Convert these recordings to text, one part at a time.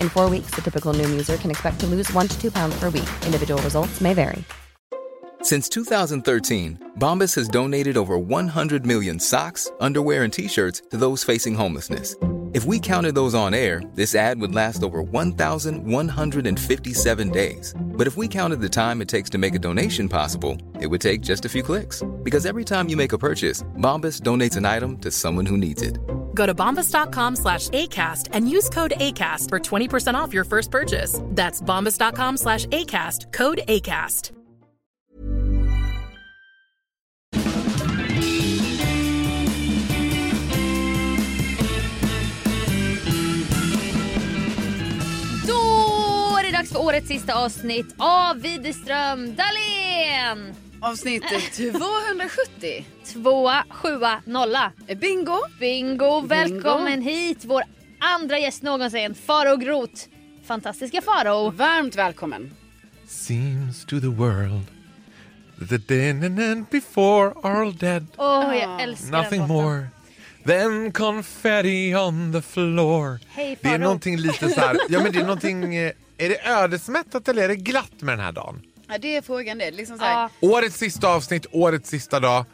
In four weeks, the typical Noom user can expect to lose one to two pounds per week. Individual results may vary. Since 2013, Bombas has donated over 100 million socks, underwear, and t shirts to those facing homelessness. If we counted those on air, this ad would last over 1,157 days. But if we counted the time it takes to make a donation possible, it would take just a few clicks. Because every time you make a purchase, Bombas donates an item to someone who needs it. Go to bombas.com slash ACAST and use code ACAST for 20% off your first purchase. That's bombas.com slash ACAST, code ACAST. Då är det dags för årets sista avsnitt av Widerström Dahlén! Avsnitt 270. Tvåa, sjua, nolla. Bingo! Bingo, välkommen hit vår andra gäst någonsin, Faro Groth. Fantastiska Faro. Varmt välkommen. Seems to the world that the dead and then before are all dead. Åh, jag älskar Nothing den låten. more than confetti on the floor. Hej, det är Farao. någonting lite så här, ja men det är någonting, eh, är det ödesmättat eller är det glatt med den här dagen? Ja, det är frågan det. Liksom så här, Ja, Årets sista avsnitt, årets sista dag.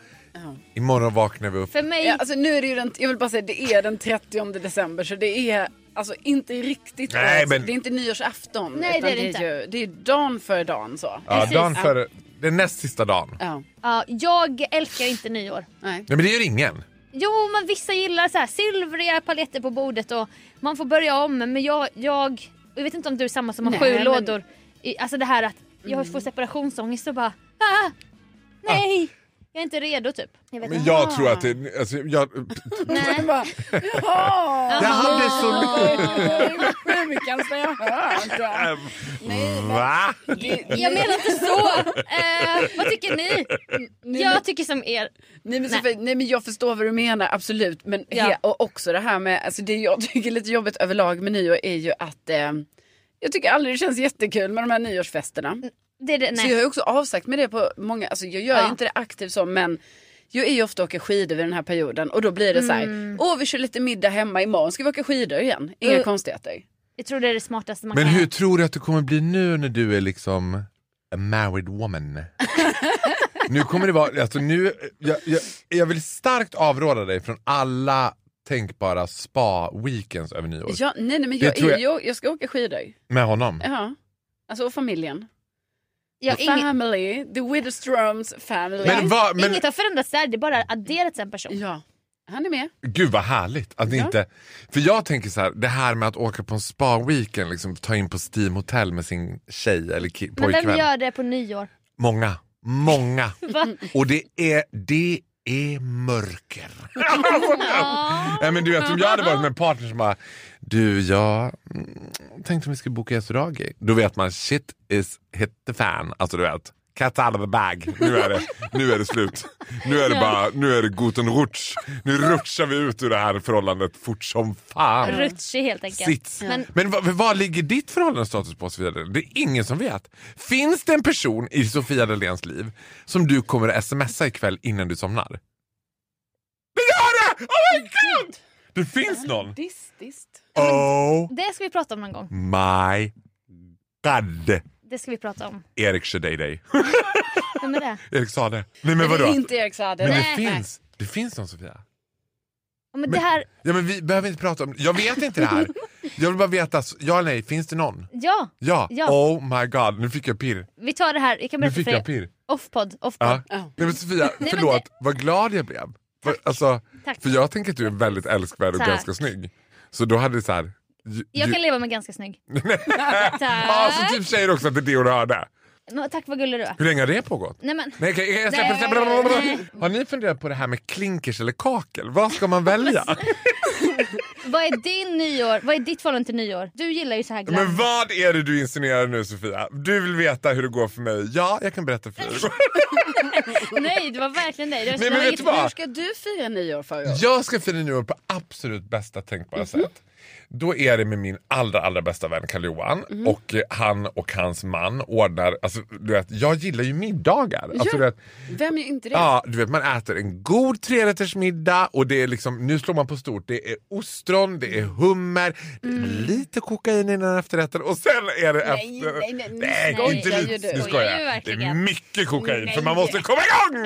Imorgon vaknar vi upp. för mig, ja, alltså, nu är det ju den, jag vill bara säga det är den 30 december så det är alltså inte riktigt Nej, årets- men- Det är inte nyårsafton. Nej, utan det är det inte. Ju, det är dagen för dagen så. Ja, precis. dagen före, den näst sista dagen. Ja. ja, jag älskar inte nyår. Nej. Nej men det gör ingen. Jo, men vissa gillar så här silvriga paletter på bordet och man får börja om. Men jag, jag, jag vet inte om du är samma som har Nej, sju men- Mm. lådor. I- Alltså det här att jag får separationsångest och bara ah, nej, jag är inte redo typ. Jag vet Men inte. jag tror att det, alltså, jag, Nej. Bara, Jaha! det hade så... Det är mycket jag hört. Va? Det- Jag menar inte så! Eh, vad tycker ni? Jag tycker som er. Nej men, Sofie, nej men jag förstår vad du menar absolut. Men Ja. he- och också det här med, alltså det jag tycker är lite jobbigt överlag med nyår är ju att eh, jag tycker aldrig det känns jättekul med de här nyårsfesterna. Det är det, Så jag har nej. ju också avsagt med det på många, alltså jag gör Mm. Ja. ju inte det aktivt så men jag är ju ofta och åker skidor vid den här perioden och då blir det så här, Mm. åh vi kör lite middag hemma imorgon, ska vi åka skidor igen? Inga Uh. konstigheter. Jag tror det är det smartaste man Men kan hur göra. tror du att det kommer bli nu när du är liksom a married woman? nu kommer det vara, alltså nu, jag, jag, jag vill starkt avråda dig från alla tänkbara spa-weekends över nyår. Ja, nej, nej men Det jag, tror jag... jag- Jag, jag ska åka skidor. Med honom. Ja. Alltså och familjen. Jag, har inget, Family, the Widerströms family. Men, vad- men inget har förändrats där, det är bara adderats en person. Ja, han är med. gud vad härligt att ni Ja. inte, för jag tänker så här, det här med att åka på en spa-weekend, liksom, ta in på Steam Hotel med sin tjej eller ki- Men vem pojkvän. gör det på nyår? Många, många. Va? Och det är, det är mörker. Ja. Nej, men du vet, om jag hade varit med en partner som bara, du jag mm, tänkte om vi skulle boka yasuragi. Då vet man shit is hit the fan. Alltså du vet, Cat out of the bag. Nu är det, nu är det slut. Nu är det bara, nu är det guten rutsch. Nu rutschar vi ut ur det här förhållandet fort som fan. Rutschig helt enkelt. Sits. Men- Men vad, vad ligger ditt förhållandestatus på Sofia Dalén? Det är ingen som vet. Finns det en person i Sofia Daléns liv som du kommer att smsa ikväll innan du somnar? Det gör det! Oh my god! Det finns någon! Distiskt. Oh Det ska vi prata om någon gång. my god! Det ska vi prata om. Erik Shadayday. Vem är det? Erik sa det. Nej men Men det vadå? är inte Erik Saade. Men det Nej. finns. Det finns någon Sofia. Ja, men det här, Ja men vi behöver inte prata om Jag vet inte det här. Jag vill bara veta, ja eller nej, finns det någon? ja, Ja. Ja. Oh my god, nu fick jag pirr. vi tar det här. Jag kan Nu berätta fick för jag er. pirr. Offpod, offpod. Ja. Nej, men Sofia, men förlåt. Vad glad jag blev. Vad- Alltså, Tack. För jag tänker att du är väldigt älskvärd och Tack. ganska snygg. Så då hade det så här... ju- Jag ju- kan leva med ganska snygg. Ja, Tack. så typ säger också att det är det hon hörde. Men Tack vad gullig du är. Hur länge har det pågått? Nej men, Nej, okej, jag släpper, Nej. släpper. Har ni funderat på det här med klinkers eller kakel? Vad ska man välja? vad är din nyår? Vad är ditt förhållande till nyår? Du gillar ju så här glam. Men vad är det du insinuerar nu Sofia? Du vill veta hur det går för mig. Ja, jag kan berätta för dig hur det går. Nej, det var verkligen dig. Det var, Nej, det men var vet inget- du vad? Hur ska du fira nyår för år? Jag ska fira nyår på absolut bästa tänkbara Mhm. sätt. Då är det med min allra, allra bästa vän karl johan Mhm. och eh, han och hans man ordnar, alltså du vet, jag gillar ju middagar. Alltså, Ja. du vet, Vem är inte det? ja, du vet, man äter en god trerättersmiddag och det är liksom, nu slår man på stort, det är ostron, det är hummer, det är lite kokain i den efterrätten och sen är det Mm. Nej, efter... nej, nej, nu nej skojar inte ju lite, du. nu Skojar skojar ju jag. Det är verkligen. mycket kokain för Nej. man måste komma igång!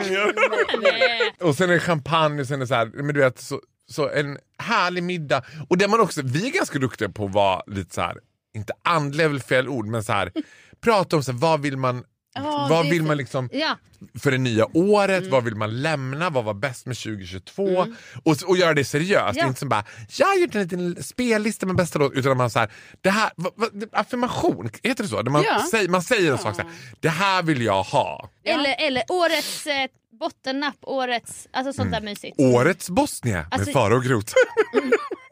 Nej. Och sen är det champagne och sen är det så här, men du vet, så, så en härlig middag. Och där man också, vi är ganska duktiga på att vara lite så här, inte andliga är väl fel ord, men så här, prata om så här, vad vill man Ja, vad det- vill man liksom Ja, för det nya året? Vad vill man lämna? Vad var bäst med 2022? Och, s- och göra det seriöst. Ja. Inte som bara, jag har gjort en liten spellista med bästa låt. Utan att man så här, det här, vad, vad, affirmation, heter det så? När man, Ja. säger, man säger en sak så här, det här vill jag ha. Eller, eller årets eh, bottennapp, årets, alltså Mm. sånt där mysigt. Årets Bosnien Alltså- med Farao och Groth.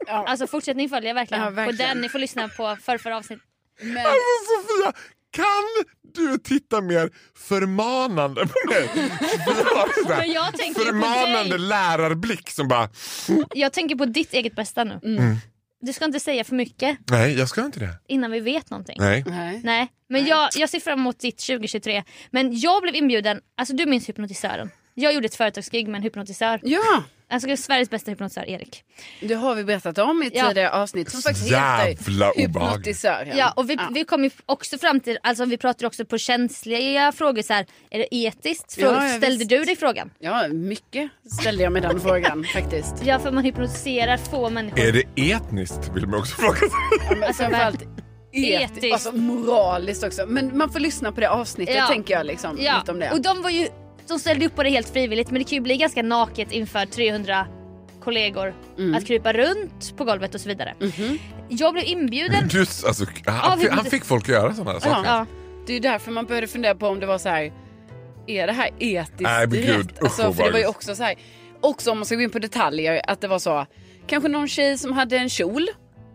Alltså fortsättning följer verkligen. Ja, På verkligen. den, ni får lyssna på förra, förra avsnittet. Men, Alltså Sofia, kan du titta mer förmanande på mig? Vi har så här Men jag tänker ju på förmanande dig. lärarblick som bara, Jag tänker på ditt eget bästa nu. Mm. Du ska inte säga för mycket nej jag ska inte det. innan vi vet någonting. Nej. nej. Nej, men jag, jag ser fram emot ditt 2023. Men jag blev inbjuden, alltså du minns hypnotisören. Jag gjorde ett företagsgig med en hypnotisör. Ja, Alltså Sveriges bästa hypnotisör, Erik. det har vi berättat om i Ja. tidigare avsnitt. Som faktiskt Jävla heter obehagligt. Hypnotisören. Ja, och vi, vi kom ju också fram till, alltså vi pratade också på känsliga frågor så här, är det etiskt? Frågor, Ja, ja, ställde visst. du dig frågan? ja, mycket ställde jag mig den frågan faktiskt. Ja, för man hypnotiserar få människor. Är det etniskt vill man också fråga sig. Men Alltså, framförallt Etiskt. etiskt. Alltså moraliskt också. Men man får lyssna på det avsnittet Ja. tänker jag liksom. Ja, Lite om det. och de var ju, de ställde upp på det helt frivilligt men det kan ju bli ganska naket inför Alltså, 300 kollegor Mm. att krypa runt på golvet och så vidare. Mhm. Jag blev inbjuden. Du, alltså, han, vi- han fick folk att göra sådana här saker. Ja. Det är ju därför man började fundera på om det var så här. Är det här etiskt Nej, men gud. rätt? Usch, Alltså, för det var ju obehagligt. också så här. Också om man ska gå in på detaljer. Att det var så. Kanske någon tjej som hade en kjol.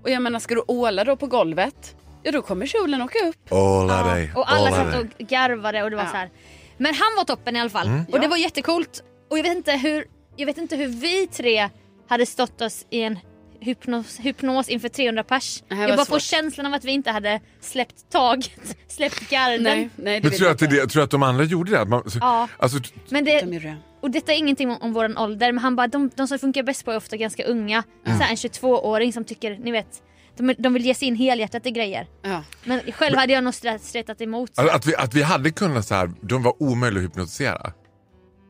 Och jag menar ska du åla då på golvet. Ja då kommer kjolen åka upp. Åla Ja, dig. Och alla åla satt dig. och garvade och det var Ja. så här. Men han var toppen i alla fall Mm. och det var jättecoolt. Och jag vet inte hur, jag vet inte hur vi tre hade stått oss i en hypnos, hypnos inför 300 pers. Det här jag var bara får svårt. känslan av att vi inte hade släppt taget, släppt garden. Nej, nej det vill Men tror du jag att, det, inte. tror du att de andra gjorde det? Att Man, så- Ja. alltså, Men det, De gjorde det. Och detta är ingenting om, om vår ålder men han bara de, de som funkar bäst på är ofta ganska unga. Mm. Så här, en 22-åring som tycker, ni vet, de, de vill ge sig in helhjärtat i grejer. Ja. Men själv hade jag nog stre- stretat emot. att, att, vi, att vi hade kunnat så här, de var omöjliga att hypnotisera. ja,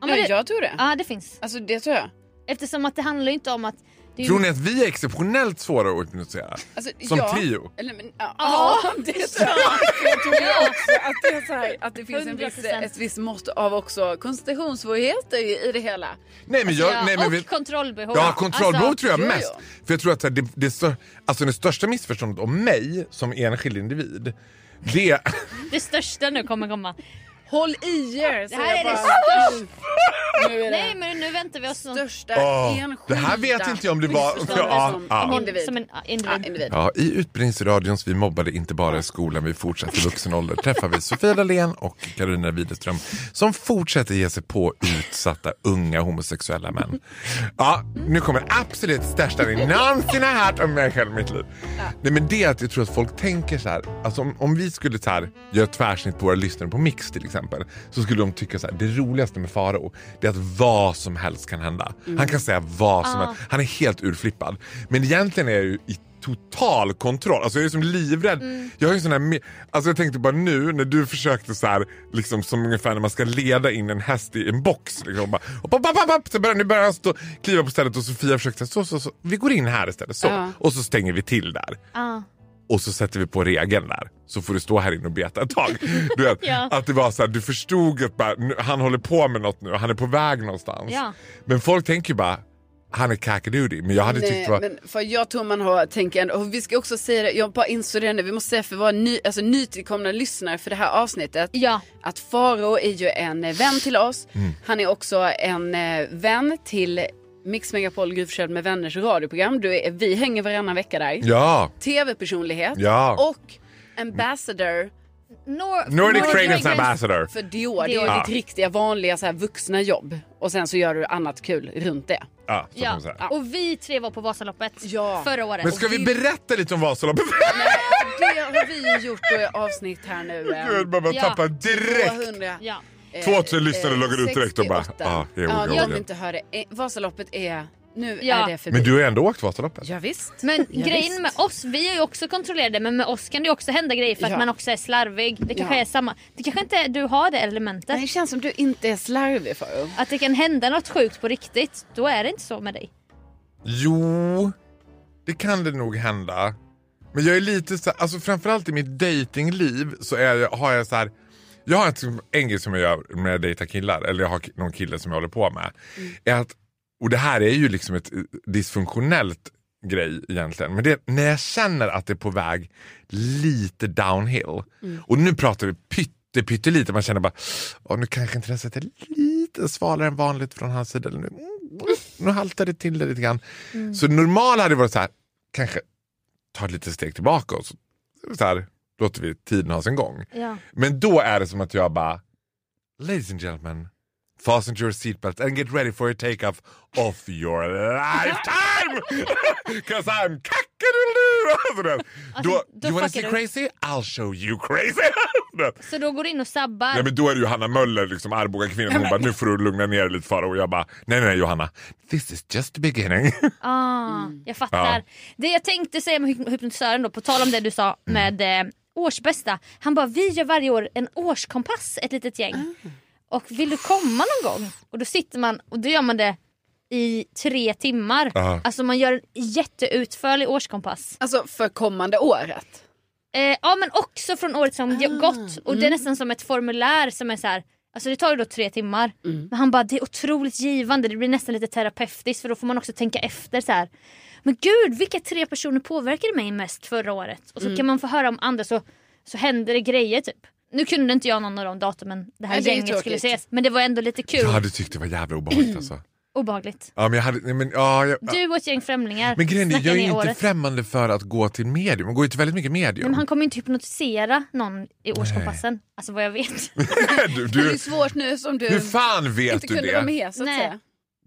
ja, men det, jag tror det. ja det finns. Alltså det tror jag. Eftersom att det handlar ju inte om att... Det är ju- Tror ni att vi är exceptionellt svåra att hypnotisera? Alltså, Som ja. trio? Eller, men, ja, ja, det tror jag. Jag tror det också att det, är så här, att det finns en viss, 100%. ett visst mått av också koncentrationssvårigheter i i det hela. Nej, men jag, ja, nej, men och vi- kontrollbehov. Ja, kontrollbehov Alltså, tror jag jo, jo. mest. För jag tror att så här, det, det, stör, alltså, det största missförståndet om mig som enskild individ, det... Det största nu kommer komma. Håll i er! Det här säger är det jag bara. Nu är Nej det men nu väntar vi oss någon största Åh, enskilda det här vet inte jag om det var- missförståndet Ja, som, ja. som individ. som en ja, Ja, individ. individ. Ja, I Utbildningsradions Vi mobbade inte bara i skolan, vi fortsatte i vuxen ålder träffar vi Sofia Dalén och Karolina Widerström som fortsätter ge sig på utsatta unga homosexuella män. Ja, nu kommer absolut största ni någonsin har hört om mig själv i mitt liv. Nej, men det är att jag tror att folk tänker så här, alltså om, om vi skulle så här, göra tvärsnitt på våra lyssnare på Mix till exempel, så skulle de tycka så här, det roligaste med Faro det är att vad som helst kan hända. Han kan säga vad som helst, han är helt urflippad. Men egentligen är jag ju i total kontroll. Alltså jag är som livrädd. Mm. Jag, är ju sån här, me- alltså jag tänkte bara nu när du försökte så här, liksom som ungefär när man ska leda in en häst i en box. Liksom, bara, och pop, pop, pop, pop, så börjar, nu börjar han stå, kliva på stället och Sofia försökte så, så, så, vi går in här istället. Så. Ja. Och så stänger vi till där. Ja. Och så sätter vi på regeln där. Så får du stå här inne och beta ett tag. Du vet, Ja. att det var så här, du förstod att bara, nu, han håller på med något nu. Han är på väg någonstans. Ja. Men folk tänker ju bara, han är kakadudi. Men jag hade tyckt Nej, det var... men för jag tror man har tänkt ändå, och vi ska också säga det, jag bara insåg det nu, vi måste säga för våra ny, alltså, nytillkomna lyssnare för det här avsnittet Ja. att Faro är ju en eh, vän till oss. Mm. Han är också en eh, vän till Mix Megapol Gry Forssell med vänners radioprogram. Du är, vi hänger varannan vecka där. Ja. Tv-personlighet Ja. och ambassador Nor- Nordic Nordic Fragrance Fragrance. Ambassador. för Dior. Det är Dior. ditt riktiga vanliga så här, vuxna jobb. Och sen så gör du annat kul runt det. Ja, så kan man Ja. säga. Och vi tre var på Vasaloppet Ja. förra året. Men ska vi berätta lite om Vasaloppet? Det har vi ju gjort då i avsnitt här nu. eh, Gud, man bara Ja. tappar direkt. 200. Ja. eh, 2000 lyssnare loggar ut direkt och bara, 68. ah, here we ja, go jag again. vill inte höra det. Eh, Vasaloppet är, nu Ja. är det förbi. Men du har ju ändå åkt Vasaloppet. Ja, visst. Men Ja, grejen visst. med oss, vi är ju också kontrollerade men med oss kan det ju också hända grejer för att Ja. man också är slarvig. Det kanske Ja. är samma. Det kanske inte är, du har det elementet. Nej, Det känns som du inte är slarvig för. Att det kan hända något sjukt på riktigt, då är det inte så med dig. Jo, det kan det nog hända. Men jag är lite så alltså framförallt i mitt datingliv så är jag, har jag så här. Jag har ett som- en grej som jag gör när jag dejtar killar, eller jag har ki- någon kille som jag håller på med. Är att, och det här är ju liksom ett eh, dysfunktionellt grej egentligen. Men det är när jag känner att det är på väg lite downhill. Och nu pratar vi pytte, pyttelite, man känner bara, "Åh, nu kanske intresset är lite svalare än vanligt från hans sida. Eller nu, mm, nu haltar det till det lite grann. Så normalt hade det varit så här, kanske ta ett litet steg tillbaka och så, så här, låter vi tiden ha sin gång. Ja. Men då är det som att jag bara, ladies and gentlemen, fasten your seatbelt and get ready for a take-off of your lifetime! Cause I'm kackadoodle! Alltså, du vet. då, då you fuckar wanna see du. crazy? I'll show you crazy! Du vet. Så då går du in och sabbar. Ja, men då är det Johanna Möller, liksom Arboga kvinnan. Hon bara, nu får du lugna ner dig lite Farao. Och jag bara, nej nej nej, Johanna, this is just the beginning. Ah, Jag fattar. Ja. Det jag tänkte säga med hyp- hypnotisören då, på tal om det du sa med eh, årsbästa. Han bara, vi gör varje år en årskompass, ett litet gäng. Och vill du komma någon gång? Och då sitter man och då gör man det i tre timmar. Ja. Alltså man gör en jätteutförlig årskompass. Alltså för kommande året. Eh, ja men också från året som Mm. gått. Och det är nästan som ett formulär som är så här. Alltså det tar ju då tre timmar. Mm. Men han bara det är otroligt givande, det blir nästan lite terapeutiskt för då får man också tänka efter så här. Men gud vilka tre personer påverkade mig mest förra året? Och så kan man få höra om andra så, så händer det grejer typ. Nu kunde inte jag någon av de datumen det här Nej, det är ju gänget skulle tråkigt. ses. Men det var ändå lite kul. jag hade tyckt det var jävla obehagligt alltså. Obehagligt. Ja, men jag hade, nej, men, ja, jag, Du och ett gäng främlingar men grejen är, snackar jag är ner ju inte året. främmande för att gå till medium. Man går ju till väldigt mycket medium. Nej, men han kommer ju inte hypnotisera någon i årskompassen. Alltså vad jag vet. du, Men det är du, ju svårt nu som du hur fan vet inte du kunde det? vara med så att Nej. säga.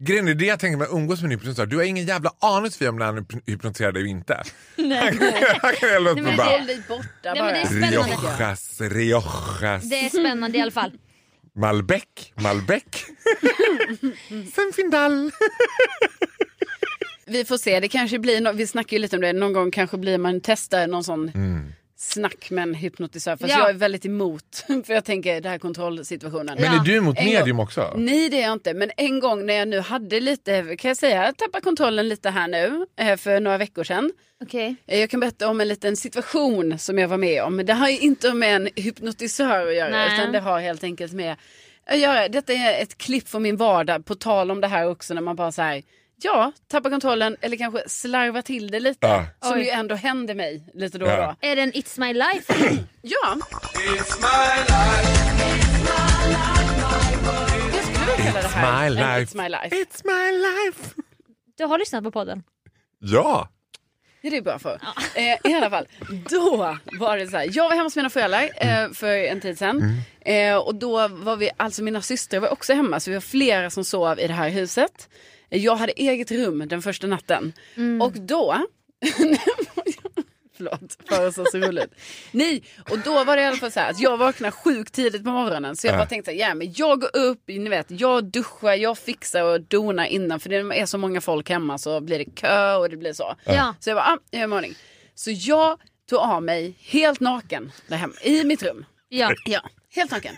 Grejen är det jag tänker med att umgås med en hypnotisör. Du har ingen jävla aning Sofia om när han hyp- hypnotiserar dig och inte. Han kan- han kan hälla upp Nej, och men bara... Håll dig borta bara. Nej, men det är spännande. Riojas, Riojas, Det är spännande i alla fall. Malbec, Malbec. Zinfandel. Vi får se, det kanske blir nå- vi snackar ju lite om det, någon gång kanske blir man testar någon sån Mm. snack med en hypnotisör. Fast Ja. jag är väldigt emot, för jag tänker den här kontrollsituationen. Men är du emot En gång. medium också? Nej det är jag inte, men en gång när jag nu hade lite, kan jag säga, jag tappade kontrollen lite här nu eh, för några veckor sedan. Okej. Eh, Jag kan berätta om en liten situation som jag var med om. Det har ju inte med en hypnotisör att göra Nej. utan det har helt enkelt med att göra. Detta är ett klipp från min vardag på tal om det här också när man bara så här ja, tappar kontrollen eller kanske slarvar till det lite. Ja. Som Oj. ju ändå händer mig lite då och Ja. då. Är det en It's My Life? Ja, It's my life. hela det här. my Men life. It's my life. It's my life! Du har lyssnat på podden. Ja! Det är det bra för. Eh, I alla fall, då var det så här. Jag var hemma hos mina föräldrar eh, för en tid sedan. Eh, och då var vi, alltså mina systrar var också hemma så vi var flera som sov i det här huset. Eh, Jag hade eget rum den första natten. Och då... Förlåt, för oss så roligt. Nej, och då var det i alla fall så här att jag vaknade sjukt tidigt på morgonen. Så jag bara tänkte så här, ja men jag går upp, ni vet, jag duschar, jag fixar och donar innan. För det är så många folk hemma så blir det kö och det blir så. Ja. Så jag bara, ah, jag är i ordning. Så jag tog av mig helt naken där hemma, i mitt rum. Ja. Ja, helt naken.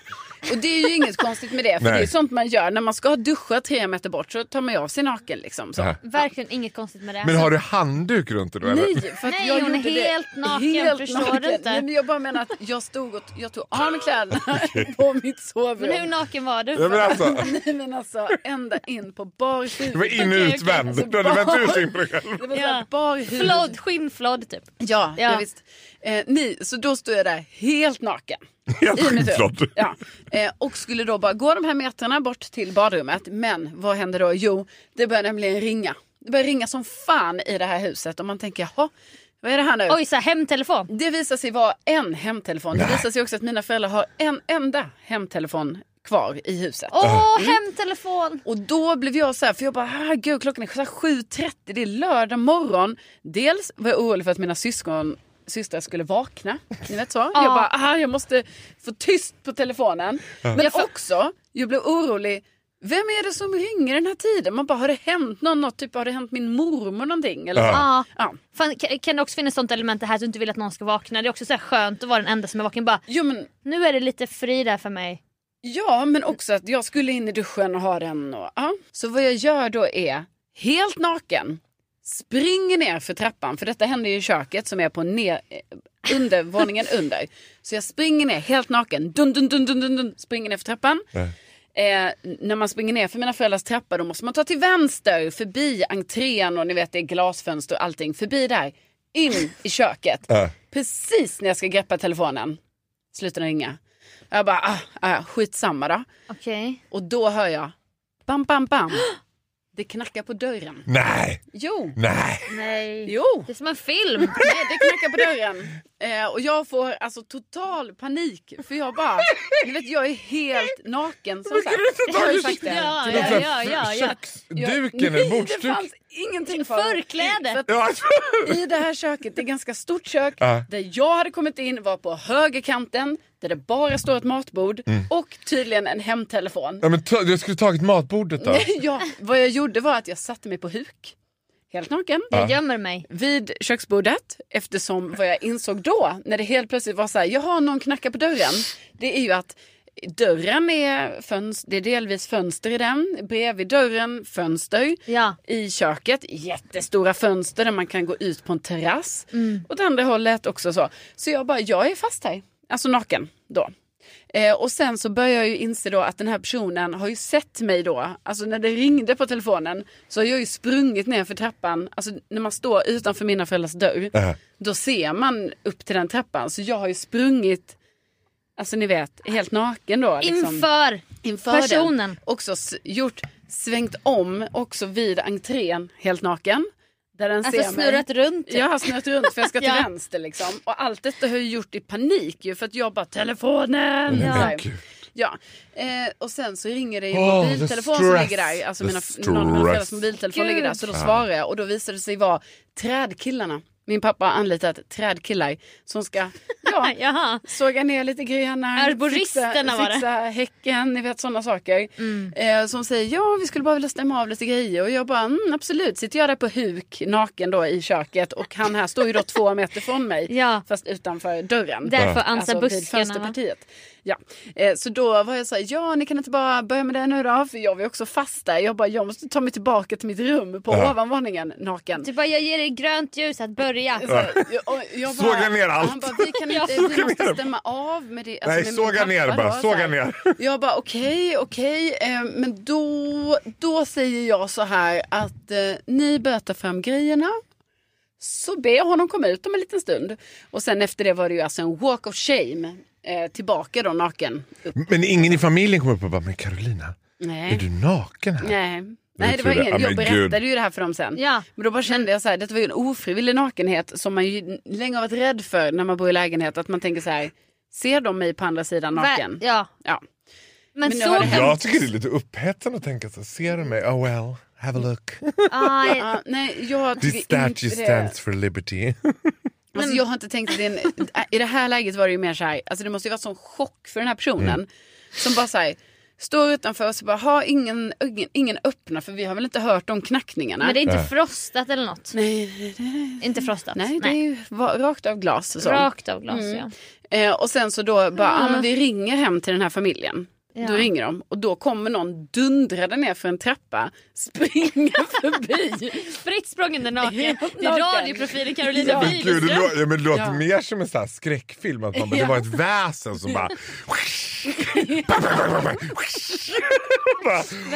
Och det är ju inget konstigt med det, för Nej. det är sånt man gör. När man ska duscha tre meter bort så tar man ju av sig naken liksom. Så. Ja. Verkligen inget konstigt med det. Men har du handduk runt dig då eller? Nej, för att Nej, jag hon är gjorde det helt naken, förstår du inte? Nej, men jag bara menar att jag stod och jag tog av mig kläderna på mitt sovrum. Men hur naken var du? Ja, men alltså, Nej men alltså ända in på bar huvud. det var in och Okej, okej. utvänd. Du hade vänt ut in på dig själv. Det var så Ja. här, bar huvud. Flod, skinnflod typ. Ja, Ja. ja. visst. Eh, nej, så då stod jag där helt naken. Helt I mitt rum. skinnflod. Ja. Eh, och skulle då bara gå de här metrarna bort till badrummet. Men vad hände då? Jo, det började nämligen ringa. Det började ringa som fan i det här huset. Och man tänker, jaha, vad är det här nu? Oj, så här, hemtelefon. Det visar sig vara en hemtelefon. Det visar sig också att mina föräldrar har en enda hemtelefon kvar i huset. Åh, hemtelefon! Och då blev jag så här, för jag bara, herregud klockan är så här 7.30, det är lördag morgon. Dels var jag orolig för att mina syskon systrar skulle vakna. Ni vet så. Jag bara, ah, jag måste få tyst på telefonen. Men också, jag blev orolig. Vem är det som ringer den här tiden? Man bara, har det hänt någon, något? Typ, har det hänt min mormor någonting? Eller så. Ja. Ja. Fan, ka- kan det också finnas sånt element här att du inte vill att någon ska vakna? Det är också så här skönt att vara den enda som är vaken. Bara, Jo, men nu är det lite fri där för mig. Ja, men också att jag skulle in i duschen och ha den. Och, ja. Så vad jag gör då är, helt naken, springer ner för trappan. För detta händer ju i köket som är på ner, eh, under, våningen under. Så jag springer ner helt naken, dun, dun, dun, dun, dun, dun, springer ner för trappan. Eh, när man springer ner för mina föräldrars trappa då måste man ta till vänster förbi entrén och ni vet det är glasfönster och allting. Förbi där, in i köket. Ja. Precis när jag ska greppa telefonen slutar den ringa. Jag bara, ah, ah, skitsamma då. Okej. Och då hör jag, bam, bam, bam. Det knackar på dörren. Nej, Jo, nej. Nej. jo. Det är som en film. Nej, det knackar på dörren. Eh, och jag får alltså total panik. För jag bara, du vet jag är helt naken. Som sagt. Jag har ju sagt det. Ja, Det är så ja, här ja, ja, ja. Jag- Köksduken Nej, eller Det bordsduken. fanns ingenting för Förkläde. För att Ja, I det här köket, det är ganska stort kök. Ja. Där jag hade kommit in var på högerkanten. Där det bara står ett matbord. Och tydligen en hemtelefon. Ja, men ta, jag skulle tagit matbordet då. ja, vad jag gjorde var att jag satte mig på huk. Helt naken. Jag gömmer mig. Vid köksbordet. Eftersom vad jag insåg då, när det helt plötsligt var så här, jaha någon knackar på dörren. Det är ju att dörren är, fönster, det är delvis fönster i den. Bredvid dörren fönster. Ja. I köket, jättestora fönster där man kan gå ut på en terrass. Mm. Åt andra hållet också så. Så jag bara, jag är fast här. Alltså naken då. Eh, och sen så börjar jag ju inse då att den här personen har ju sett mig då. Alltså när det ringde på telefonen så har jag ju sprungit ner för trappan. Alltså när man står utanför mina föräldrars dörr. Äh. Då ser man upp till den trappan. Så jag har ju sprungit, alltså ni vet, helt naken då. liksom Inför. inför Personen. den också s- gjort, svängt om också vid entrén helt naken. Där den Alltså ser mig. snurrat runt. Jag har snurrat runt för jag ska till Ja. vänster liksom. Och allt detta har jag gjort i panik ju för att jag bara telefonen. Mm, Men Så här. gud. Ja. Eh, och sen så ringer det ju Oh, the mobiltelefon som ligger stress. där. Alltså The mina, någon av mina stress. föräldrars mobiltelefon ligger där. Så då svarar jag och då visar det sig vara trädkillarna. Min pappa har anlitat trädkillar som ska ja, Jaha. såga ner lite grenar, Arboristerna fixa, var det. Mm. fixa häcken, ni vet sådana saker. Eh, som säger ja, vi skulle bara vilja stämma av lite grejer och jag bara mm, absolut, sitter jag där på huk naken då i köket och han här står ju då två meter från mig Ja. fast utanför dörren. Alltså, Därför ansar vid buskarna. va? fönsterpartiet. Ja. Eh, så då var jag så här, ja ni kan inte bara börja med det nu då, för jag var ju också fast där. Jag bara, jag måste ta mig tillbaka till mitt rum på Ja. ovanvåningen naken. Du bara, jag ger dig grönt ljus att börja. Så här, Alltså, jag- och jag bara- Såga ner allt. Han bara, vi kan inte, Såga vi måste ner. stämma av med det. Alltså, Nej, med min såga pappa ner då, bara, så här. såga ner. Jag bara, okej, okej. eh, men då, då säger jag så här att eh, ni börjar ta fram grejerna. Så ber jag honom komma ut om en liten stund. Och sen efter det var det ju alltså en walk of shame. Eh, tillbaka då naken. Upp. Men ingen i familjen kom upp och bara, men Carolina, Är Nej. du naken här? Nej. Det Nej, det var betyder- ingen, Ja, jag men gud. berättade ju det här för dem sen. Ja. Men då bara kände jag så här, detta var ju en ofrivillig nakenhet som man ju länge har varit rädd för när man bor i lägenhet. Att man tänker så här, ser de mig på andra sidan naken? Ver- ja. Ja. Men, Men nu så har det hemskt. Jag tycker det är lite upphetsande att tänka så här, ser du mig? Oh well, have a look. Aj, Ja, nej, jag This tycker inte det. statue stands for liberty. Alltså, jag har inte tänkt att det är en, I det här läget var det ju mer så här, alltså det måste ju varit sån chock för den här personen. Mm. Som bara så här, står utanför och så bara, ha ingen, ingen, ingen öppna för vi har väl inte hört om knackningarna. men det är inte frostat eller något? nej, nej, Inte frostat? nej, det är ju va- rakt av glas. och Så. Rakt av glas ja. Eh, och sen så då bara, ah, men vi ringer hem till den här familjen. Då Ja. ringer de och då kommer någon dundrade ner för en trappa, springer förbi. Fritt språngande naken. Helt Det är naken. radioprofilen Carolina Ja. ja. Men Gud, det, lå- ja, men det låter Ja. mer som en sån här skräckfilm. Att man bara, Det var ett väsen som bara... Bara, "Åh,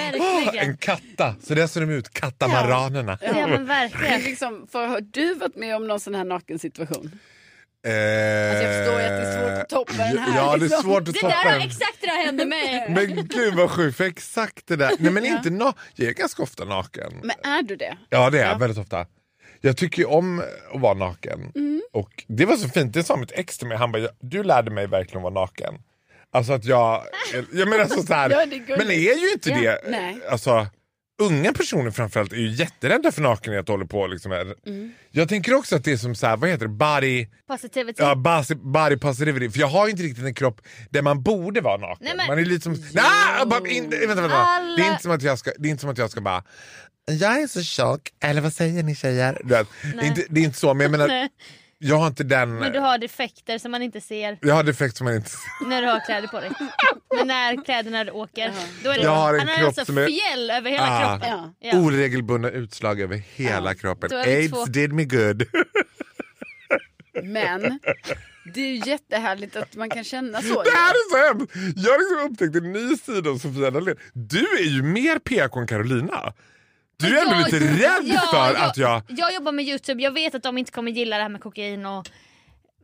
Verkligen. en katta. Så där ser de ut, katamaranerna. Ja men Det verkligen. är liksom, för, har du varit med om någon sån här naken situation? Eh, Alltså, jag förstår ju att det är svårt att toppa den här, Ja, det är liksom. svårt att Det toppa där har den. exakt det där hände mig. Men gud vad sjukt, för exakt det där. Nej men inte na- Jag är ganska ofta naken. Men är du det? Ja det är jag väldigt ofta. Jag tycker ju om att vara naken. Mm. Och det var så fint, det sa mitt ex till mig. Han bara, du lärde mig verkligen att vara naken. Alltså att jag, jag menar så, så här, Ja, det är gulligt. men är ju inte Ja, det, nej. alltså unga personer framförallt är ju jätterädda för nakenhet och håller på liksom här. Mm. Jag tänker också att det är som så här, vad heter det, body, Positivitet. ja, body, body positivity. För jag har ju inte riktigt en kropp där man borde vara naken. Nej, men- Man är lite som, nej, bara, in, vänta, vänta, vänta. Alla- Det är inte som att jag ska, det är inte som att jag ska bara jag är så tjock, eller vad säger ni tjejer? Du vet, det, är inte, det är inte så, men jag menar, Nej. jag har inte den... Men du har defekter som man inte ser Jag har defekt som man inte... när du har kläder på dig. Men när kläderna åker. Då är det Jag har en han har kropp alltså som är- fjäll över hela Ah. kroppen. Ja. Ja. Oregelbundna utslag över hela kroppen. då är vi Aids två. did me good. Men det är ju jättehärligt att man kan känna så. det här är så hemskt! Jag har liksom upptäckt en ny sida av Sofia Dalén. Du är ju mer PK än Carolina. Du är ändå lite rädd för att jag... Jag jobbar med Youtube, jag vet att de inte kommer gilla det här med kokain och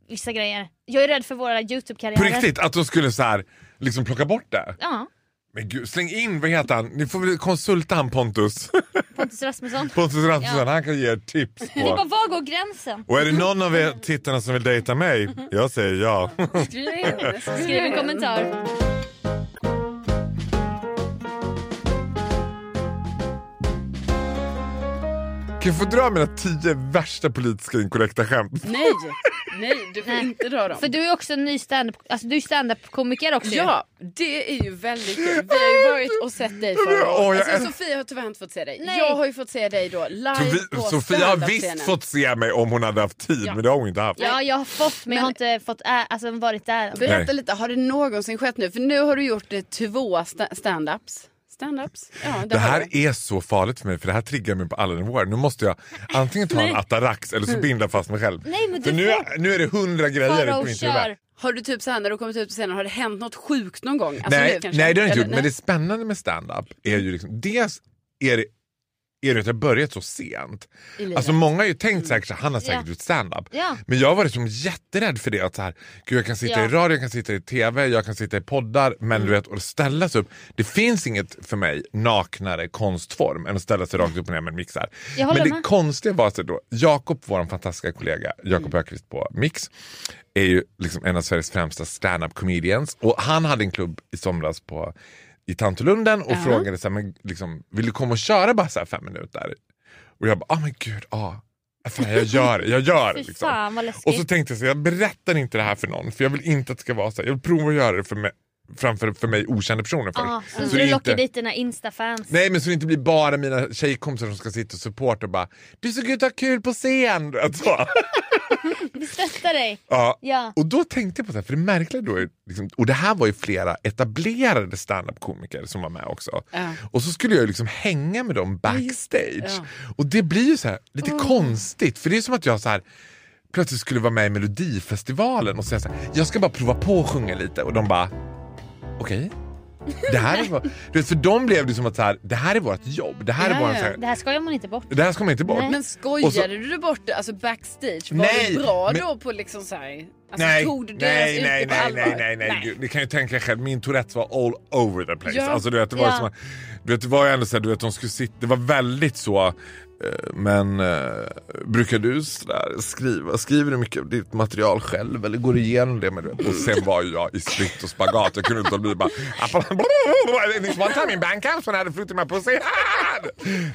vissa grejer. Jag är rädd för våra På Youtube-karriärer. riktigt, att de skulle så här, liksom plocka bort det. Ja, Men gud, släng in, vad heter han? Ni får väl konsulta han Pontus. Pontus Rasmusson. Pontus Rasmusson, han kan ge er tips Det är bara, på. var går gränsen? Mm-hmm. Och är det någon av er tittarna som vill dejta mig? Jag säger ja. Skriv in, Skriv en kommentar. Kan jag få dra mina tio värsta politiska inkorrekta skämt? Nej, nej du får inte dra dem. För du är också en ny stand-up, alltså du är stand-up-komiker också ju. Ja, det är ju väldigt kul. Vi har ju varit och sett dig förra Åh, jag året. äl- Alltså, Sofia har tyvärr inte fått se dig. Nej. Jag har ju fått se dig då live på Sofi- Sofia har visst standup-scenen. fått se mig om hon hade haft tid, men det har hon inte haft. Ja, jag har fått men jag har inte fått ä- alltså, varit där. än. Berätta Nej. lite, har det någonsin skett nu? För nu har du gjort eh, två sta- standups. Standups? Ja, Det har här du. är så farligt för mig, för det här triggar mig på alla nivåer. Nu måste jag antingen ta en atarax eller så binda fast mig själv. Mm. Nej, men för du nu, får- nu är det hundra Fara grejer på och mitt kör. huvud. Har du typ så här när du kommit ut på scenen, har det hänt något sjukt någon gång? Alltså nej, nu kanske? nej, det har jag inte Eller- gjort. Men det spännande med stand-up är ju liksom, dels är det, är det att jag har börjat så sent. Alltså många har ju tänkt säkert att han har säkert Mm. Ja. gjort stand-up. Ja. Men jag har varit som jätterädd för det. Att så här, Gud, jag kan sitta Ja. Mm. i radio, jag kan sitta i tv, jag kan sitta i poddar. Men du vet, att ställa sig upp. Det finns inget för mig naknare konstform än att ställa sig rakt upp och ner med en mix här. Jag Men håller det med. konstiga var så då, Jakob, vår fantastiska kollega, Mm. Jakob Ökvist på Mix, är ju liksom en av Sveriges främsta stand-up comedians. Och han hade en klubb i somras på i Tantolunden och frågade så här, men liksom, vill du komma och köra bara så här fem minuter? Och jag bara, ah men gud, ja. Fan, jag gör det, jag gör det. Fy fan vad Och så läskigt. tänkte jag så här, jag berättar inte det här för någon för jag vill inte att det ska vara så här. Jag vill prova att göra det för mig, framför för mig okända personer först. Ja, Ah, så det du lockar inte- dit dina instafans. Nej men så det inte blir bara mina tjejkompisar som ska sitta och supporta och bara Du såg ut att ha kul på scen! Alltså. du vet så. Vi stöttar dig. ja. Ja. Och då tänkte jag på det här, för det märkliga då är, liksom, och det här var ju flera etablerade standup-komiker som var med också. Och så skulle jag ju liksom hänga med dem backstage. Och det blir ju så här, lite konstigt, för det är som att jag så här plötsligt skulle vara med i Melodifestivalen och säga så här, jag ska bara prova på att sjunga lite och de bara, okej? Det här är vad, du vet, för dem blev det som att så här, det här är vårt jobb, det här är Ja, våran, ja. så här, Det här skojar man inte bort. det här ska man inte bort. Men Och så- skojade du bort det? Alltså backstage? Var Nej, du bra men- då på liksom så här? Alltså, nej, tog du deras nej, yrke nej, på nej, allvar? nej, nej, nej, gud. Ni kan ju tänka er själv, min Tourettes var all over the place. Ja. Alltså, du vet, det var Ja. som, att- du vet, det var ju ändå så här, du vet, de skulle sitta, det var väldigt så, eh, men eh, brukar du sådär skriva, skriver du mycket av ditt material själv eller går du igenom det med det? Och sen var ju jag i split och spagat, jag kunde inte låta bli bara, this one time in Bankhouse when I had a fruit in my pussy.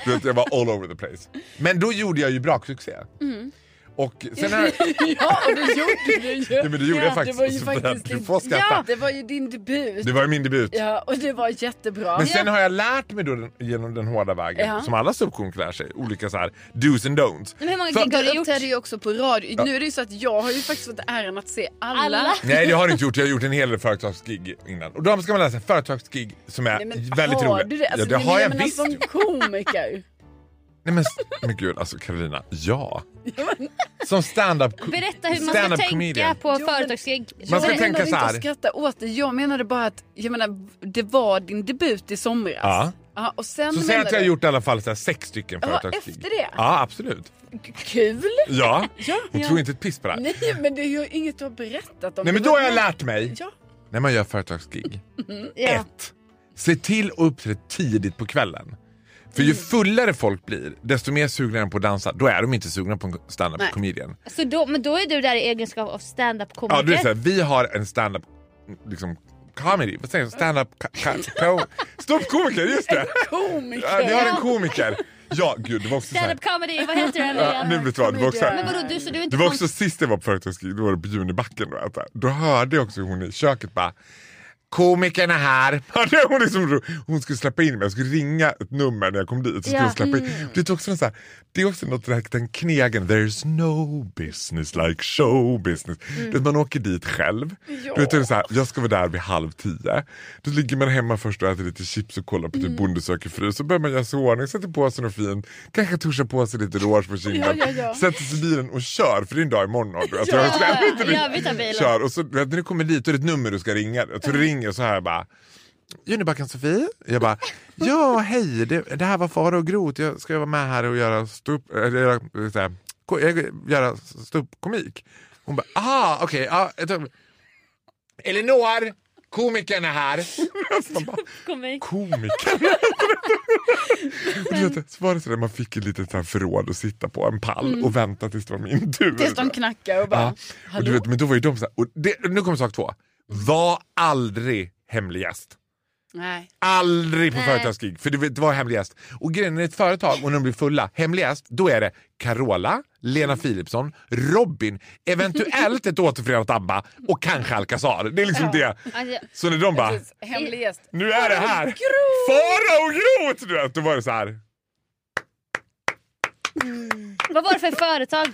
Du vet, jag var all over the place. Men då gjorde jag ju braksuccé. Mm. Och sen har jag... Ja, och det gjorde du ju. Ja, men det gjorde jag faktiskt. Det var ju Så för att faktiskt du din- får skratta. Ja, det var ju din debut. Det var ju min debut. Ja, och det var jättebra. Men sen har jag lärt mig då den, genom den hårda vägen, Ja. som alla ståuppkomiker lär sig, olika så här do's and don'ts. Men hur många För- gig har du Jag gjort? uppträdde ju också på radio. Nu är det ju så att jag har ju faktiskt fått äran att se alla. Alla? Nej det har jag inte gjort, jag har gjort en hel del företagsgig innan. Och då ska man läsa företagsgig som är Nej, men väldigt har roliga. Du det? Alltså, ja, det har jag men visst. Som komiker. Nej men, s- men gud alltså Carolina, ja. Som stand-up Berätta hur man ska stand-up tänka comedian. på men- företagsgig. Man ska jag tänka menade så här. inte att skratta åt det. Jag menade bara att jag menar, det var din debut i somras. Ja. Ja, och sen Så säg att menar jag har du- gjort i alla fall så här, sex stycken Ja, företagsgig. efter det? Ja absolut. Kul! Ja, hon tror inte ett piss på det här. Nej, men det är ju inget du har berättat om. Nej men Det då var- har jag lärt mig, Ja. när man gör företagsgig, Ja. Ett, se till att uppträda tidigt på kvällen. För ju fullare folk blir, desto mer sugna är de på att dansa. Då är de inte sugna på en stand-up Nej. comedian. Så då, men då är du där i egenskap av Ja, du är standup-komiker. såhär, vi har en stand-up liksom, comedy, vad säger jag? Stand-up ka- ka- ko- Ståuppkomiker, just det! Komiker. Ja, vi har en komiker. Ja, gud, det var också såhär. Stand-up comedy, vad heter den Ja, nu vet du vad, det var också Men såhär. vadå, du, så du är Det inte var kon- också sist jag var på företagsgig, då var det på Junibacken. Då, alltså. då hörde jag också hon i köket bara Komikern är här. Hörde jag? Hon, liksom, hon skulle släppa in mig, jag skulle ringa ett nummer när jag kom dit. Så skulle Ja, hon släppa in. Mm. Det, är också en så här, det är också något där, den knegen, there's no business like show business. Mm. Du vet, man åker dit själv. Du vet, det är så här, jag ska vara där vid halv tio. Då ligger man hemma först och äter lite chips och kollar Mm. på typ Bonde söker fru. Så börjar man göra sig i ordning, sätter på sig något fint, kanske tuschar på sig lite rouge på kinden. Ja, ja, ja. Sätter sig i bilen och kör, för det är en dag imorgon. Du vet, Jag ska Ja, ändå inte ja, ringa. vi tar bilen. Kör, och så, du vet, när du kommer dit då är det ett nummer du ska ringa. Så du ringer så här bara. Junibacken Sofie. Jag bara, ja hej, det, det här var Faro och Groth. Jag ska vara med här och göra stup, eller, göra, eh, så här, ko- eh, göra ståuppkomik. Hon bara, ah okej. ja, ett ögonblick." Elinor, komikern är här. Man bara, komik. komikern. och du vet, så var det så där, man fick ett litet så här förråd att sitta på, en pall och vänta tills det var min tur. Mm. Tills de knackar och bara... Ja. Och du Hallå? vet, men då var ju de så här, och det, nu kommer sak två. Var aldrig hemlig gäst. Nej. Aldrig på företagsgig, för det, vet- det var hemlig gäst. Och grejen är ett företag och när de blir fulla, hemlig gäst, då är det Carola, Lena Philipsson, Robin, eventuellt ett återförenat ABBA och kanske Alcazar. Det är liksom det. Alltså, Så när de bara, Precis, Hemlig gäst. nu är det här, Groth! Farao Groth! Du vet, Då var det så här. vad var det för företag?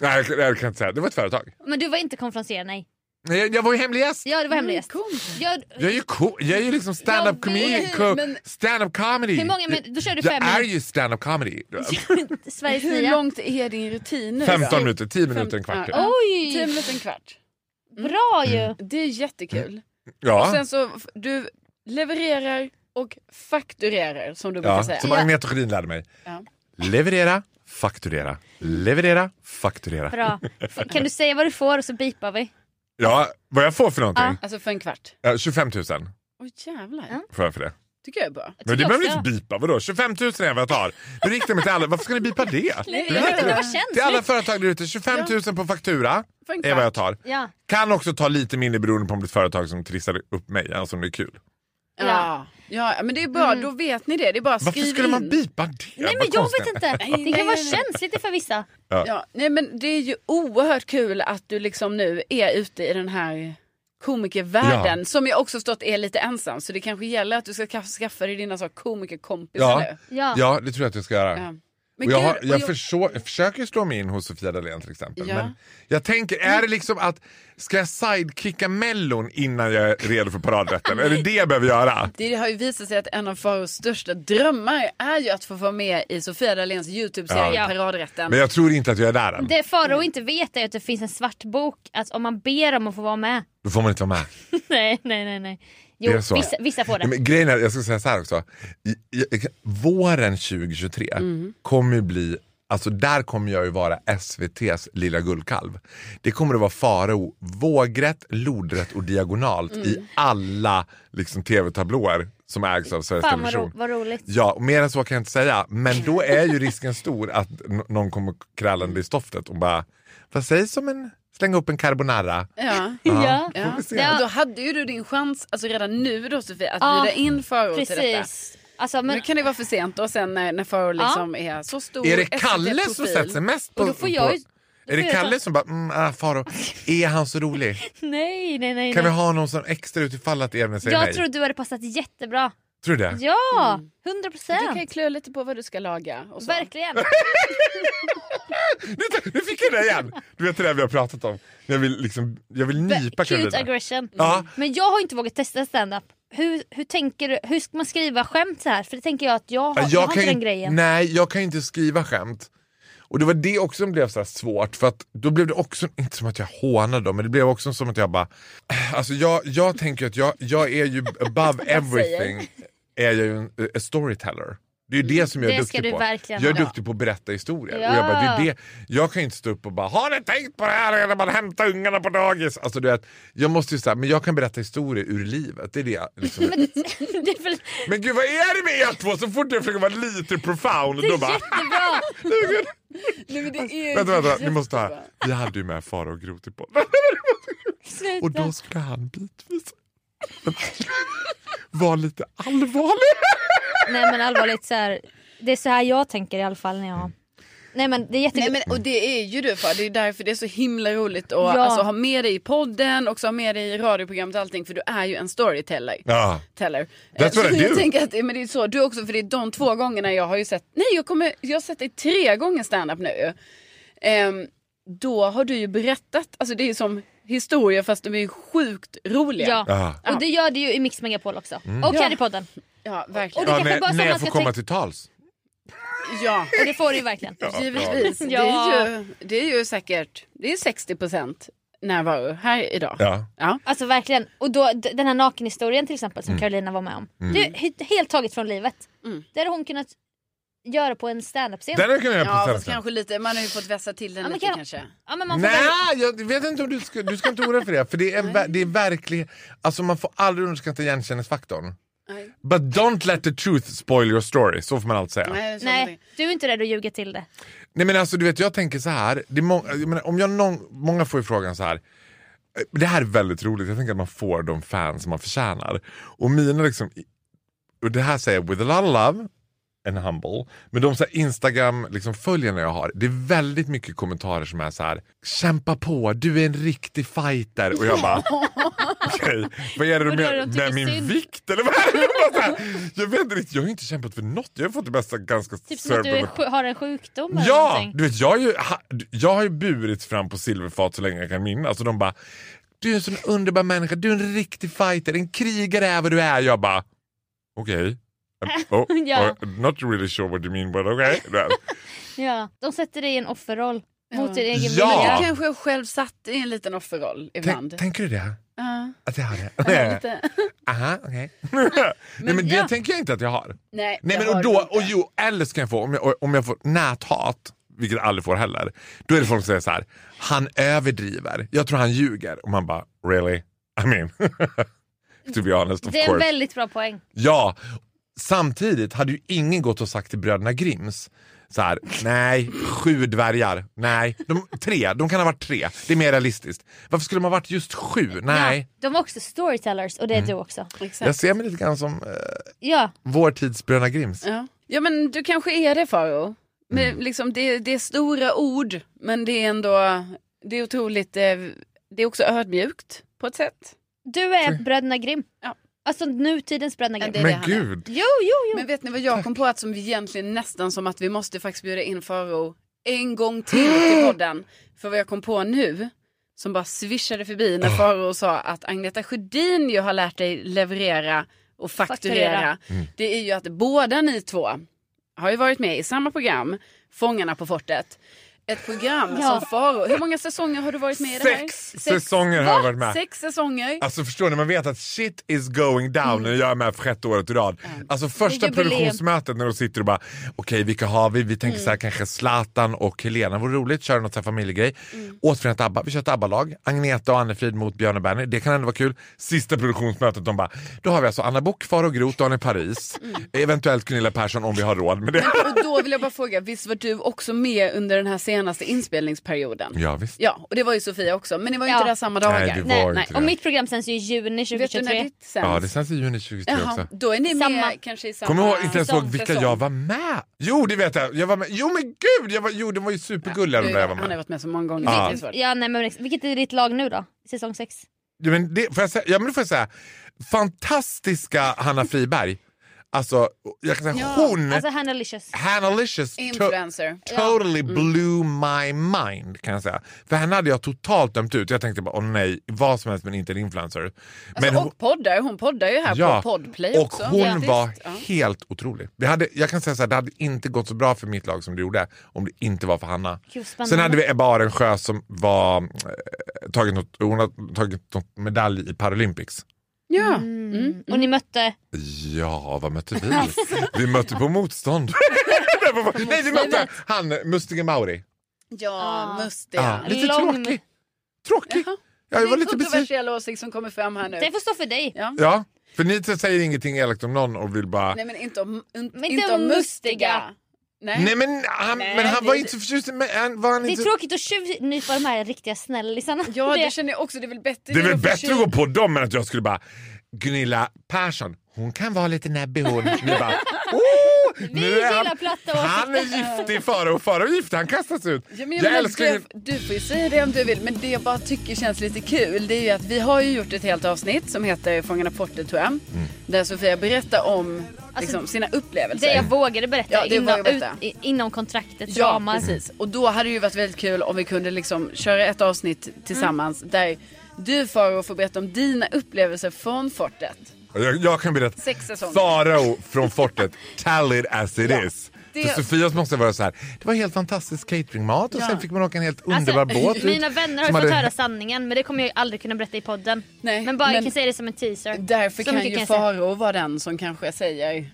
Nej, jag, kan- jag kan inte säga, det var ett företag. Men du var inte konferenserare, nej. Nej, Jag, jag var ju hemlig gäst. Ja, det var hemlig gäst. Kom. Jag, Jag är ju, co- jag är ju liksom stand-up Jag vet, comedy. men- Stand-up comedy. Hur många minuter- då kör du jag fem är minuter. ju stand-up comedy. Sveriges Hur nya. långt är din rutin nu? 15 då? minuter, 10 minuter, en kvart. ja. Ja. Tio Oj, minuter, en kvart. bra ju! Det är jättekul. Och Ja. sen så, f- du levererar och fakturerar som du brukar ja. säga. Som Agneta Sjödin lärde mig. Ja. Leverera, fakturera. Leverera, fakturera. Bra. F- Kan du säga vad du får och så bipar vi? Ja, vad jag får för någonting? Alltså för en kvart. Ja, 25 000 Åh jävlar. får jag för det. tycker jag är bra. Men det jag behöver ni också. inte bipa. Vadå? 25 000 är vad jag tar. Nu riktar jag mig till alla. Varför ska ni bipa det? Nej, jag vet inte, det var känsligt. Till alla företag där ute. 25 000 på faktura För en är vad jag kvart. tar. Ja. Kan också ta lite mindre beroende på om det är ett företag som trissar upp mig. Alltså om det är kul. Ja. ja, men det är Mm. bra. Då vet ni det. Det är bara att Varför skriva skulle man in. bipa det? Nej men Vad jag konstigt. vet inte. Det kan vara känsligt för vissa. Ja, nej men det är ju oerhört kul att du liksom nu är ute i den här komikervärlden Ja. som jag också förstått är lite ensam så det kanske gäller att du ska ka- skaffa dig dina så komikerkompisar Ja. nu. Ja. ja, det tror jag att jag ska göra. Ja. Och jag, har, gud, jag, och förså- jag försöker slå mig in hos Sofia Dalén till exempel. Ja. Men jag tänker, är det liksom att ska jag sidekicka Mellon innan jag är redo för paradrätten? är det det jag behöver göra? Det har ju visat sig att en av Faros största drömmar är ju att få vara med i Sofia Dahléns Youtube-serie Ja. Paradrätten. Men jag tror inte att jag är där än. Det Farao inte vet är att det finns en svart bok. Att om man ber om att få vara med. Då får man inte vara med. nej, nej, nej. nej. Jo, Det är så. vissa, vissa får Ja, det. men grejen är, jag ska säga så här också. I, i, våren 2023 kommer ju bli Alltså där kommer jag ju vara SVTs lilla guldkalv. Det kommer att vara faro vågrätt, lodrätt och diagonalt i alla liksom, tv-tablåer som ägs av Sveriges Fan vad, Television. ro- vad roligt. Ja, och mer än så kan jag inte säga. Men då är ju risken stor att n- någon kommer krallande i stoftet och bara, vad sägs om en, slänga upp en carbonara? Ja. Ja. Får vi se. Ja. Och Då hade ju du din chans, alltså redan nu då Sofie, att Ja, bjuda in Farao till detta. Precis. Alltså, Men... men, Nu kan det vara för sent då sen när, när Farao liksom är så stor Är det Kalle som SVT-profil. sätter sig mest på... Och då får jag på ju- då är det får jag Kalle ta- som bara, mm, ah, Faro, är han så rolig? nej, nej, nej. Kan vi nej. ha någon som extra ut ifall att Evne säger jag nej? tror du hade passat jättebra. Tror du det? Ja, 100 Du kan ju procent. klura lite på vad du ska laga. Och så. Verkligen. Nu- Nu fick jag det igen! Du vet det där vi har pratat om. Jag vill, liksom, jag vill nypa Cute Karolina. aggression. Ja. Men jag har inte vågat testa stand-up. Hur, hur, tänker, du- hur ska man skriva skämt så här? För det tänker jag att jag har, jag har kan inte ju- den grejen. Nej, jag kan ju inte skriva skämt. Och det var det också som blev så här svårt, för att då blev det också, inte som att jag hånade dem, men det blev också som att jag bara, alltså jag, jag tänker att jag, jag är ju above everything, är jag ju en eh, a storyteller. Det är ju det som jag är Mm, Det ska duktig du på. verkligen jag är ha. duktig på att berätta historier. Ja. Och jag, bara, det är det. jag kan ju inte stå upp och bara, har ni tänkt på det här när man hämtar ungarna på dagis? Alltså du vet, jag måste ju säga, men jag kan berätta historier ur livet. Det är det jag liksom, Det är väl men gud vad är det med er två? Så fort jag försöker vara lite profound det är då bara... jättebra. Nej, men det är Vänta, vänta, jättebra. ni måste ha. Vi hade ju med Farao Groth i podden. Och då skulle han bitvis vara lite allvarlig. Nej men allvarligt så här. Det är så här jag tänker i alla fall när jag... Nej men det är jättekul. Nej, men, och det är ju du för det är därför det är så himla roligt att Ja. alltså, ha med dig i podden och ha med dig i radioprogrammet och allting för du är ju en storyteller. Ja. Teller. That's Eh, så what I jag do. tänker att eh, men det är så, du också för det är de två gångerna jag har ju sett, nej jag, kommer, jag har sett dig tre gånger standup nu. Ehm, då har du ju berättat, alltså det är ju som historia fast de är ju sjukt roliga. Ja. Ja. Och det gör det ju i Mix Megapol också. Och Mm. Ja. Caddypodden. Ja, Och verkligen. det Ja, kanske bara när som när man jag ska får komma tänk- till tals. Ja. Och det får du ju verkligen. Givetvis. Ja. Det, är ju, det är ju säkert det är 60 procent närvaro här idag. Ja. Ja. Alltså verkligen. Och då, d- den här nakenhistorien till exempel som Carolina var med om. Mm. Det är he- helt taget från livet. Det hade hon kunnat göra på en standup-scen. Den hade jag kunnat göra Ja, på fast svenska. kanske lite. Man har ju fått vässa till den Ja, men lite kan- kanske. Ja, men man får Nej, väl... jag vet inte om du ska, du ska inte oroa dig för det. För det är, ver- det är verkligen, alltså man får aldrig underskatta igenkänningsfaktorn. Nej. But don't let the truth spoil your story, så får man alltid säga. Nej, så Nej, du är inte rädd att ljuga till det. Nej men alltså du vet jag tänker så här. Det är må- jag menar, om jag någon, många får ju frågan så här. eh, Det här är väldigt roligt. Jag tänker att man får de fans man förtjänar. Och mina liksom. i- Och det här säger jag with a lot of love and humble. Men de så här Instagram liksom följarna jag har. Det är väldigt mycket kommentarer som är så här. Kämpa på, du är en riktig fighter. Och jag bara. Okej, vad är det du Och då är det menar? de tycker Med min synd. vikt eller vad är det? Jag, bara så här, jag vet inte riktigt, jag har ju inte kämpat för något. Jag har fått det bästa ganska Typ som att du är, sörpande- sj- har en sjukdom eller Ja! någonting. Du vet, jag, har ju, ha, jag har ju burits fram på silverfat så länge jag kan minnas och de bara Du är en sån underbar människa, du är en riktig fighter, en krigare är vad du är. Jag bara okej. Oh, Ja. oh, not really sure what you mean but okay. Ja. De sätter dig i en offerroll mot din egen Ja. vilja. Jag kanske jag själv satt i en liten offerroll ibland. Tänk, tänker du det? Ja, Att jag har det? lite. Aha, okej. Nej men det ja. tänker jag inte att jag har. Nej, Nej, det men har du och då, inte. och jo, eller ska jag få, om jag, om jag får näthat, vilket jag aldrig får heller, då är det folk som säger så här, han överdriver, jag tror han ljuger. Och man bara, really? I mean, to be honest of Det är en course. väldigt bra poäng. Ja, samtidigt hade ju ingen gått och sagt till bröderna Grimms, så här, nej, sju dvärgar, nej, de, tre, de kan ha varit tre, det är mer realistiskt. Varför skulle man ha varit just sju? Nej. Ja, de var också storytellers och det är Mm. du också. Jag ser mig lite grann som eh, Ja, vår tids bröderna Grimms. Ja. ja, men du kanske är det Faro. Men Mm. liksom, det, det är stora ord, men det är ändå det är otroligt, eh, det är också ödmjukt på ett sätt. du är Bröderna Grimm. Ja. Alltså nutidens Bröderna Grimm. det är det Men han är. gud. Jo, jo, jo. Men vet ni vad jag kom på att som vi egentligen nästan som att vi måste faktiskt bjuda in Faro en gång till till podden. För vad jag kom på nu, som bara svischade förbi Ah. när Faro sa att Agneta Sjödin ju har lärt dig leverera och fakturera. Fakturera. Mm. Det är ju att båda ni två har ju varit med i samma program, Fångarna på fortet. ett program Ja. som Faro. Hur många säsonger har du varit med i det här? Sex säsonger har jag varit med. Sex säsonger. Alltså förstår ni, man vet att shit is going down när jag är med för sjätte året i rad. Alltså första jubileum. produktionsmötet när de sitter och bara okej vilka har vi? Vi tänker så Mm. här kanske Zlatan och Helena, vore roligt, köra något så här familjegrej. Mm. Återförenat ABBA, vi kör ett ABBA-lag. Agneta och Annefrid mot Björn och Benny, det kan ändå vara kul. Sista produktionsmötet de bara, då har vi alltså Anna Book, Faro Groth, Daniel Paris, Mm. eventuellt Gunilla Persson om vi har råd med det. Och då vill jag bara fråga, visst var du också med under den här senaste inspelningsperioden? ja visst. Ja, och det var ju Sofia också, men ni var ju Ja. inte där samma dagar. Nej, du var Nej, inte nej. det. Och mitt program sänds ju i juni Vet du när 2023. ditt sänds? Ja, det sänds i juni 2023 också. Jaha, då är ni med Samma. kanske i samma... Kommer ihåg, inte ens ihåg säsong, vilka säsong. jag var med. Jo, det vet jag. jag var med. Jo men gud, jag var, jo, de var ju supergulliga de där jag var Han har med. varit med så många gånger. Ja. Det är svårt. Ja, nej, men vilket är ditt lag nu då? Säsong 6? Jo, men det, får jag säga, ja, men det får jag säga. Fantastiska Hanna Friberg. Alltså, jag kan säga hon, Alltså Hannah Licious. Hanna Licious, to- Influencer. Mm. totally blew my mind kan jag säga. För henne hade jag totalt dömt ut. Jag tänkte bara, åh nej, vad som helst men inte en influencer. Men Alltså, och poddar, hon poddar ju här på Podplay och också. hon Ja. var Faktiskt, ja. helt otrolig. Vi hade, jag kan säga så här, det hade inte gått så bra för mitt lag som det gjorde om det inte var för Hanna. Gud, spännande. Sen hade vi Ebba Arensjö som var, eh, tagit något, hon har tagit något medalj i Paralympics. Ja. Mm. Och ni mötte... Ja, vad mötte vi? vi mötte på motstånd. Nej, vad var- Nej, vi mötte han Mustiga Mauri. ja, mustiga. Ja, lite Lång- tråkig. Tråkig. Jaha. Ja, jag var lite besviken. kontroversiell åsikt som kommer fram här nu. Det får stå för dig. Ja. Ja, för ni säger ingenting elakt om någon och vill bara... Nej men inte om, un, Men inte inte om om mustiga. mustiga. Nej. Nej men han, Nej, men han det- var inte så förtjust i mig. Han- var han Det är inte... tråkigt att tjuvnypa de här riktiga snällisarna. Ja det Det- känner jag också, det är väl bättre Det är väl att bättre att försöka- gå på dem än att jag skulle bara Gunilla Persson, hon kan vara lite näbbig hon. Ni bara, oh, nu är gillar platta han, han är giftig Farao och Farao är giftig, han kastas ut. Ja, men jag jag menar, älskar du, Gun- du får ju säga det om du vill, men det jag bara tycker känns lite kul det är ju att vi har ju gjort ett helt avsnitt som heter Fångarna på fortet tror jag. Mm. Där Sofia berättar om liksom, sina upplevelser. Alltså, Det jag vågade berätta Ja, det inom, vågar berätta. Ut, i- inom kontraktets Ja, ramar. precis. Och då hade det ju varit väldigt kul om vi kunde liksom köra ett avsnitt tillsammans Mm. där du Faro får berätta om dina upplevelser från fortet. jag, jag kan berätta, Sex säsonger. Farao från fortet, tell it as it Ja, is. det- För Sofias måste vara så här, det var helt fantastisk cateringmat och Ja. sen fick man åka en helt Alltså, underbar båt ut mina vänner har ju som fått hade- höra sanningen men det kommer jag ju aldrig kunna berätta i podden. Nej, men bara men- jag kan säga det som en teaser. Därför Så kan mycket ju jag säga. Faro vara den som kanske säger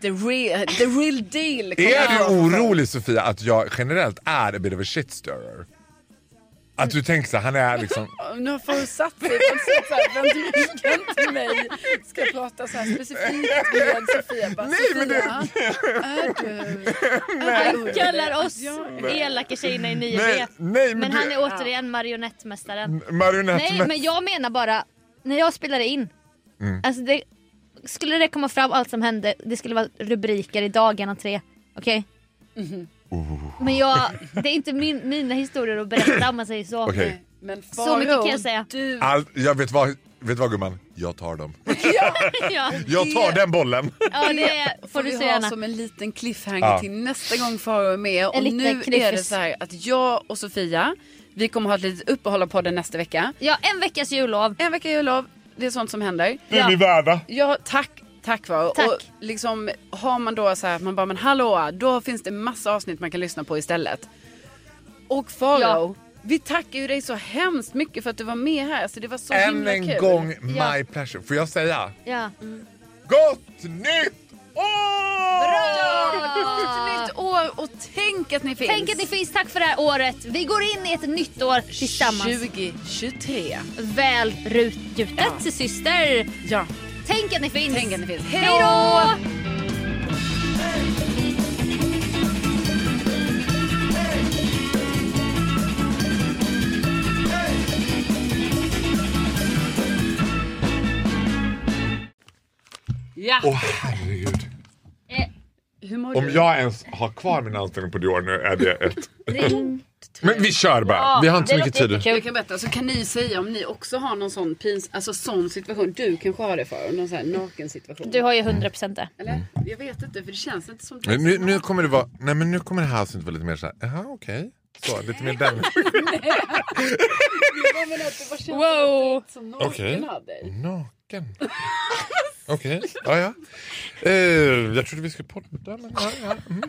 the real, the real deal. kommer Är jag du från Faro. orolig Sofia att jag generellt är a bit of a shitstirrer? Att du tänker så här, han är liksom Nu har Faro satt sig på ett sätt så här, vem som till mig ska prata så här specifikt med Sofia. Bara, Nej, Sofia, men det- är du... Han kallar oss Ja. elaka tjejerna i nya Nej, B. nej, men men det- han är återigen marionettmästaren. marionett. Nej men- men jag menar bara, när jag spelade in. Mm. Alltså det, skulle det komma fram allt som hände, det skulle vara rubriker i dagarna tre. Okej? Mhm. Men jag, det är inte min, mina historier att berätta om man säger så. Okej. Men Faro, Så mycket kan jag säga. du Allt- jag vet vad, vet vad gumman, jag tar dem. Ja, Jag tar den bollen. ja det får du vi så ha gärna. som en liten cliffhanger Ja. till nästa gång Faro är med. Och liten nu är det kniffis. så här att jag och Sofia, vi kommer ha ett litet uppehåll av podden nästa vecka. Ja, en veckas jullov. En vecka jullov, det är sånt som händer. Det är vi värda. Ja, tack. Tack Faro. Tack. Och liksom har man då så här att man bara men hallå, då finns det massa avsnitt man kan lyssna på istället. Och Faro, Ja. vi tackar ju dig så hemskt mycket för att du var med här. Alltså, det var så Än himla en kul. gång, my Ja. pleasure. Får jag säga? Ja. Gott nytt år! Ett nytt år och tänk att ni finns. Tänk att ni finns, tack för det här året. Vi går in i ett nytt år tillsammans. 2023. Väl rutgjutet syster. Ja. Tänk att ni finns. Tänk att ni finns. Hej då! Ja. Åh herregud. Hur mår Om du? jag ens har kvar min anställning på Dior nu är det ett... Ring. Men vi kör bara. Vi har inte så det mycket låter tid. Jag typ. kan berätta, så kan ni säga om ni också har någon sån pins, alltså sån situation. Du kanske har det för någon sån här naken situation. Du har ju 100% det. Eller? Jag vet inte för det känns inte som Men Nu, nu kommer det vara... Nej men nu kommer det här avsnittet vara lite mer så här... Jaha okej. Så, lite mer den. Jag menar att det bara känns Wow. som naken Okej. hade dig. Naken. Okej, ja ja. Eh, jag trodde vi skulle podda men ja ja. Mm.